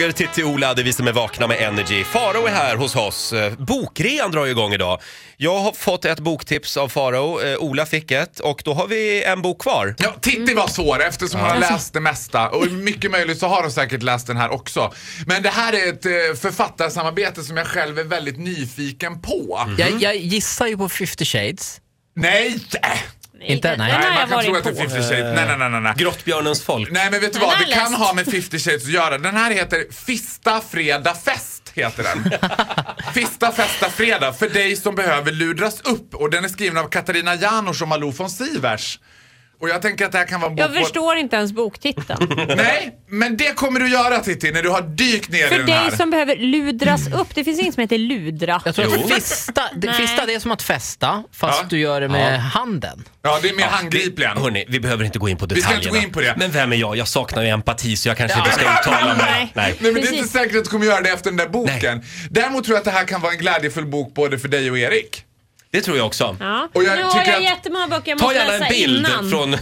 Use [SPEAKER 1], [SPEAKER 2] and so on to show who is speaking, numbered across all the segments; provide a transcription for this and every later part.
[SPEAKER 1] Frågor till Ola, det är vi som är vakna med Energy. Farao är här hos oss. Eh, Bokrean drar ju igång idag. Jag har fått ett boktips av Farao, eh, Ola fick ett och då har vi en bok kvar.
[SPEAKER 2] Ja, Titti
[SPEAKER 3] Mm.
[SPEAKER 2] var svår eftersom hon har läst det mesta och mycket möjligt så har hon säkert läst den här också. Men det här är ett eh, författarsamarbete som jag själv är väldigt nyfiken på.
[SPEAKER 1] Mhm.
[SPEAKER 4] Jag, jag gissar ju på 50 shades.
[SPEAKER 2] Nej! äh.
[SPEAKER 3] Nej,
[SPEAKER 4] Inte?
[SPEAKER 3] den-
[SPEAKER 4] Nej.
[SPEAKER 3] den
[SPEAKER 2] Nej,
[SPEAKER 3] har
[SPEAKER 2] man
[SPEAKER 3] jag
[SPEAKER 2] kan tro
[SPEAKER 3] varit
[SPEAKER 2] att det är
[SPEAKER 3] på.
[SPEAKER 2] 50 shades. Nej, nej, nej, nej, nej.
[SPEAKER 1] Grottbjörnens folk.
[SPEAKER 2] Nej, men vet du
[SPEAKER 3] Den
[SPEAKER 2] vad?
[SPEAKER 3] har
[SPEAKER 2] Det
[SPEAKER 3] jag
[SPEAKER 2] kan
[SPEAKER 3] läst.
[SPEAKER 2] ha med 50 shades att göra. Den här heter Fista Fredag Fest. Heter den. Fista Festa Fredag för dig som behöver ludras upp. Och den är skriven av Katarina Janouch och Malou von Sivers. Och jag tänker att det här kan vara en
[SPEAKER 3] Jag
[SPEAKER 2] bok på-
[SPEAKER 3] förstår inte ens boktiteln.
[SPEAKER 2] Nej, men det kommer du göra Titti när du har dykt ner i
[SPEAKER 3] För
[SPEAKER 2] den här.
[SPEAKER 3] dig som behöver ludras upp. Det finns inget som heter ludra.
[SPEAKER 4] Jag tror
[SPEAKER 1] Jo.
[SPEAKER 4] att fista, det,
[SPEAKER 3] Nej.
[SPEAKER 4] fista det är som att festa, fast
[SPEAKER 2] Ja.
[SPEAKER 4] du gör det med handen.
[SPEAKER 2] Ja, det är mer
[SPEAKER 1] Det,
[SPEAKER 2] handgripligen.
[SPEAKER 1] hörni, vi behöver inte gå in på
[SPEAKER 2] ska inte
[SPEAKER 1] detaljerna.
[SPEAKER 2] gå in på det.
[SPEAKER 1] Men vem är jag? Jag saknar ju empati så jag kanske inte ska
[SPEAKER 2] Ja.
[SPEAKER 1] uttala mig.
[SPEAKER 3] Nej.
[SPEAKER 1] Nej.
[SPEAKER 2] Nej, men det är inte
[SPEAKER 3] Precis.
[SPEAKER 2] säkert att du kommer göra det efter den där boken. Däremot tror jag att det här kan vara en glädjefull bok både för dig och Erik.
[SPEAKER 1] Det tror jag också.
[SPEAKER 3] Ja.
[SPEAKER 2] Och jag
[SPEAKER 3] nu har
[SPEAKER 2] tycker
[SPEAKER 3] jag
[SPEAKER 2] att-
[SPEAKER 3] jättemånga böcker jag
[SPEAKER 1] Ta
[SPEAKER 3] måste
[SPEAKER 1] gärna
[SPEAKER 3] läsa
[SPEAKER 1] en bild
[SPEAKER 3] innan.
[SPEAKER 1] från,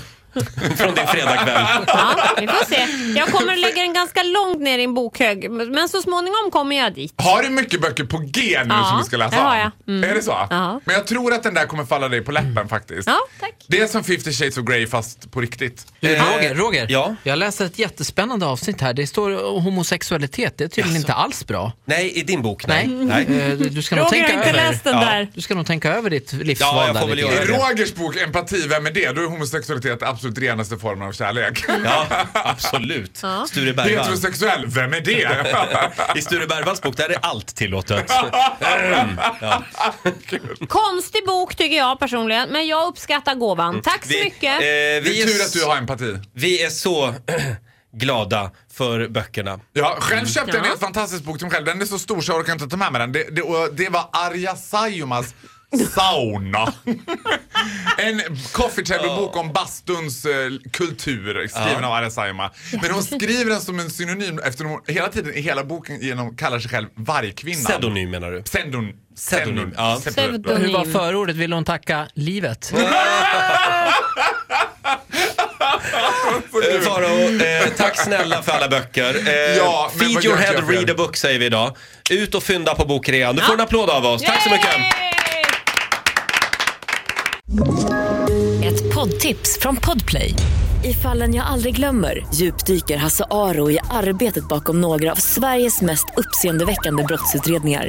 [SPEAKER 1] från din fredagkväll.
[SPEAKER 3] Ja, vi får se. Jag kommer lägga den ganska långt ner i en bokhög. Men så småningom kommer jag dit.
[SPEAKER 2] Har du mycket böcker på G nu
[SPEAKER 3] Ja,
[SPEAKER 2] som du ska läsa
[SPEAKER 3] det har
[SPEAKER 2] av?
[SPEAKER 3] jag. Mm.
[SPEAKER 2] Är det så?
[SPEAKER 3] Ja.
[SPEAKER 2] Men jag tror att den där kommer falla dig på läppen
[SPEAKER 1] Mm.
[SPEAKER 2] faktiskt.
[SPEAKER 3] Ja, tack.
[SPEAKER 2] Det är som 50 shades of Grey fast på riktigt.
[SPEAKER 4] Du,
[SPEAKER 1] Eh,
[SPEAKER 4] Roger, Roger.
[SPEAKER 1] ja.
[SPEAKER 4] jag läser ett jättespännande avsnitt här. Det står eh, homosexualitet, det är tydligen inte alls bra.
[SPEAKER 1] Nej, i din bok nej.
[SPEAKER 4] Nej.
[SPEAKER 1] nej.
[SPEAKER 4] Eh, Du, du, ska nog
[SPEAKER 3] Roger
[SPEAKER 4] tänka
[SPEAKER 3] har inte
[SPEAKER 4] över,
[SPEAKER 3] läst den
[SPEAKER 1] Ja.
[SPEAKER 3] där.
[SPEAKER 4] du ska nog tänka över ditt livsval
[SPEAKER 1] Ja, jag
[SPEAKER 4] där
[SPEAKER 1] får väl
[SPEAKER 4] lite
[SPEAKER 1] göra
[SPEAKER 2] I
[SPEAKER 4] grann.
[SPEAKER 1] det.
[SPEAKER 2] Rogers bok Empati, vem är det? Då är homosexualitet absolut renaste formen av kärlek.
[SPEAKER 1] Ja, absolut. Sture Bergman.
[SPEAKER 2] Heterosexuell, vem är det?
[SPEAKER 1] I Sture Bergmans bok där är allt tillåtet.
[SPEAKER 3] Konstig bok tycker jag personligen. Men jag uppskattar gåvan. Tack så mycket.
[SPEAKER 1] eh,
[SPEAKER 2] Det
[SPEAKER 1] vi,
[SPEAKER 2] är tur
[SPEAKER 1] är,
[SPEAKER 2] att du har empati.
[SPEAKER 1] vi är så glada för böckerna.
[SPEAKER 2] Ja, själv köpte jag en
[SPEAKER 3] Ja.
[SPEAKER 2] helt fantastisk bok till mig själv. Den är så stor så jag orkar inte ta med mig den. Det, det, och det var Arja Saijonmaas Sauna. en coffee table-bok om bastuns eh, kultur skriven av Arja Saijonmaa. Men hon skriver den som en synonym eftersom hon hela tiden i hela boken genom kallar sig själv vargkvinnan.
[SPEAKER 1] Pseudonym menar du?
[SPEAKER 2] Pseudon.
[SPEAKER 1] Pseudonym,
[SPEAKER 2] Pseudonym.
[SPEAKER 1] ja.
[SPEAKER 3] Pseudonym.
[SPEAKER 4] Hur var förordet? Vill hon tacka livet?
[SPEAKER 1] Eh, Faro, eh, tack snälla för alla böcker. Eh,
[SPEAKER 2] Ja, men
[SPEAKER 1] feed
[SPEAKER 2] vad
[SPEAKER 1] your
[SPEAKER 2] gör
[SPEAKER 1] head,
[SPEAKER 2] jag för er?
[SPEAKER 1] read a book säger vi idag. Ut och fynda på bokrean. Du får en applåd av oss. Tack så mycket.
[SPEAKER 3] Yay!
[SPEAKER 5] Ett poddtips från Podplay. I fallen jag aldrig glömmer djupdyker Hasse Aro i arbetet bakom några av Sveriges mest uppseendeväckande brottsutredningar.